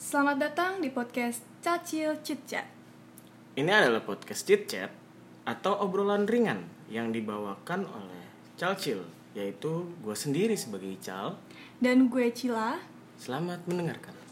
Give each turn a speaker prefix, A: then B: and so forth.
A: Selamat datang di podcast Cacil Cicat.
B: Ini adalah podcast chit chat atau obrolan ringan yang dibawakan oleh Calcil, yaitu gue sendiri sebagai Cal.
A: Dan gue Cila.
B: Selamat mendengarkan.